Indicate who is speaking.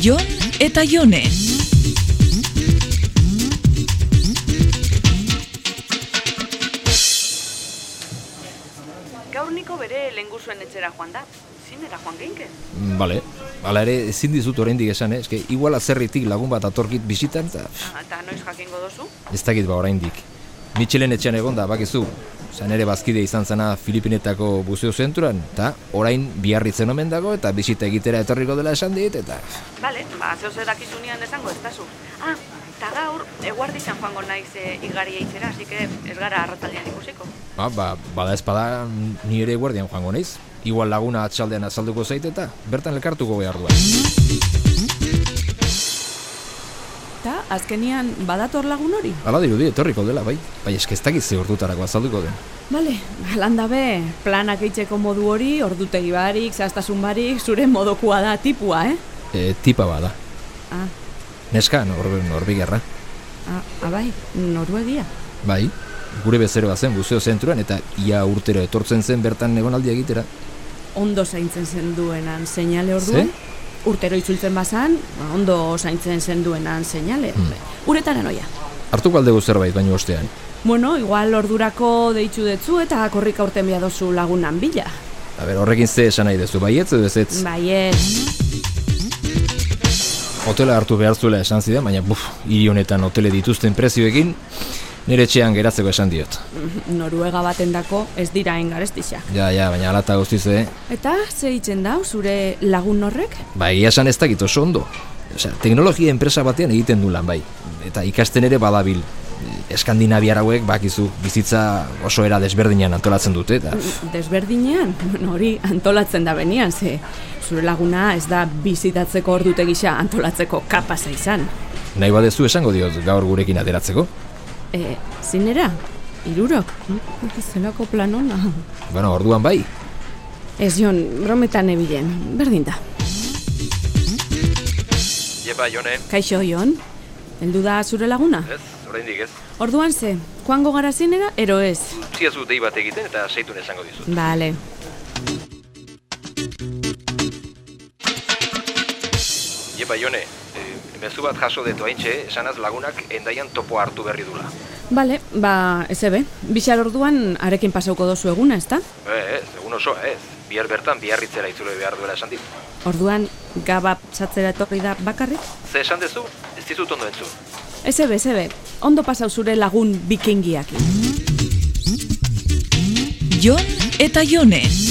Speaker 1: Jon eta Jone.
Speaker 2: Gaur niko bere lengusuen etxera joan da. Zinera joan geinke.
Speaker 3: Mm, Bale, hala ere, ezin dizut oraindik esan, eh? Eske, igual atzerritik lagun bat atorkit bisitan, eta pff,
Speaker 2: Ah, Eta noiz jakingo dozu?
Speaker 3: ez dakit ba oraindik. Mitxelen etxean egon da, bakizu, zan ere bazkide izan zana Filipinetako buzeo zenturan, eta orain biarritzen omen dago, eta bisita egitera etorriko dela esan dit, eta...
Speaker 2: Bale, ba, zeo zer dakizunean esango ez dazu. Ah, eta gaur, eguardizan joango naiz e, igari eitzera, así que ez gara arrataldean ikusiko.
Speaker 3: Ba, ba, bada espada, ni ere guardian joango naiz. Igual laguna atxaldean azalduko zait eta bertan elkartuko behar duen.
Speaker 4: Eta azkenian badator lagun hori?
Speaker 3: Hala dirudi etorriko dela, bai. Bai, eske ez dakit ze ordutarako azalduko den.
Speaker 4: Bale, landabe, planak eitzeko modu hori, ordutegi barik, zaztasun barik, zure modokua da tipua, eh?
Speaker 3: E, tipa bada.
Speaker 4: Ah,
Speaker 3: Neska, nor, norbigerra.
Speaker 4: ah, abai, noruegia.
Speaker 3: Bai, gure bezero bazen buzeo zentruan eta ia urtero etortzen zen bertan egonaldi egitera.
Speaker 4: Ondo zaintzen zenduenan seinale orduen. Urtero itzultzen bazan, ba, ondo zaintzen zenduenan seinale. Uretara noia.
Speaker 3: Hartuko aldegu zerbait baino ostean.
Speaker 4: Bueno, igual ordurako deitzu detzu eta korrika urten biadozu lagunan bila.
Speaker 3: A ber, horrekin ze esan nahi dezu, baietz edo ezetz.
Speaker 4: Bai. Baiet,
Speaker 3: Hotela hartu behar zuela esan zidan, baina buf, hiri honetan hotele dituzten prezioekin, nire etxean geratzeko esan diot.
Speaker 4: Mhm, noruega batendako ez dira engarestixak.
Speaker 3: Ja, ja, baina alata guztiz, eh?
Speaker 4: Eta ze itzen da zure lagun horrek?
Speaker 3: Ba, egia esan ez dakit oso ondo. Osea, teknologia enpresa batean egiten du lan bai. Eta ikasten ere badabil. eh, Eskandinaviar hauek bakizu bizitza oso era desberdinan antolatzen dute
Speaker 4: Bai.
Speaker 3: eta
Speaker 4: Mhm, Desberdinean, bueno, hori antolatzen da benian, ze zure laguna ez da bizitatzeko ordute gisa antolatzeko kapaza izan.
Speaker 3: nahi badezu esango diot gaur gurekin ateratzeko.
Speaker 4: E, zinera, irurok, zelako plan ona.
Speaker 3: Bueno, orduan bai.
Speaker 4: Ez jon, brometan ebilen, berdin da.
Speaker 5: Jepa, bai, jone,
Speaker 4: Kaixo, jon, heldu da zure laguna?
Speaker 5: ez, oraindik ez.
Speaker 4: Orduan ze, joango gara zinera, ero ez?
Speaker 5: Utziazu dei bat egiten eta seitun esango dizut.
Speaker 4: Bale,
Speaker 5: Jepa, jone, eh, mezu bat jaso detu haintxe, esanaz lagunak endaian topo hartu berri dula.
Speaker 4: bale, ba, ez ebe, bixar orduan arekin pasauko dozu eguna, ezta?
Speaker 5: Eh, ez, egun oso, ez. Bihar bertan biarritzera itzule behar duela esan dit.
Speaker 4: Orduan, gaba txatzera etorri da bakarrik?
Speaker 5: Ze esan dezu, ez dizut ondo entzun.
Speaker 4: Ez ebe, ez ebe, ondo pasau zure lagun bikingiakin.
Speaker 1: Jon eta Jone.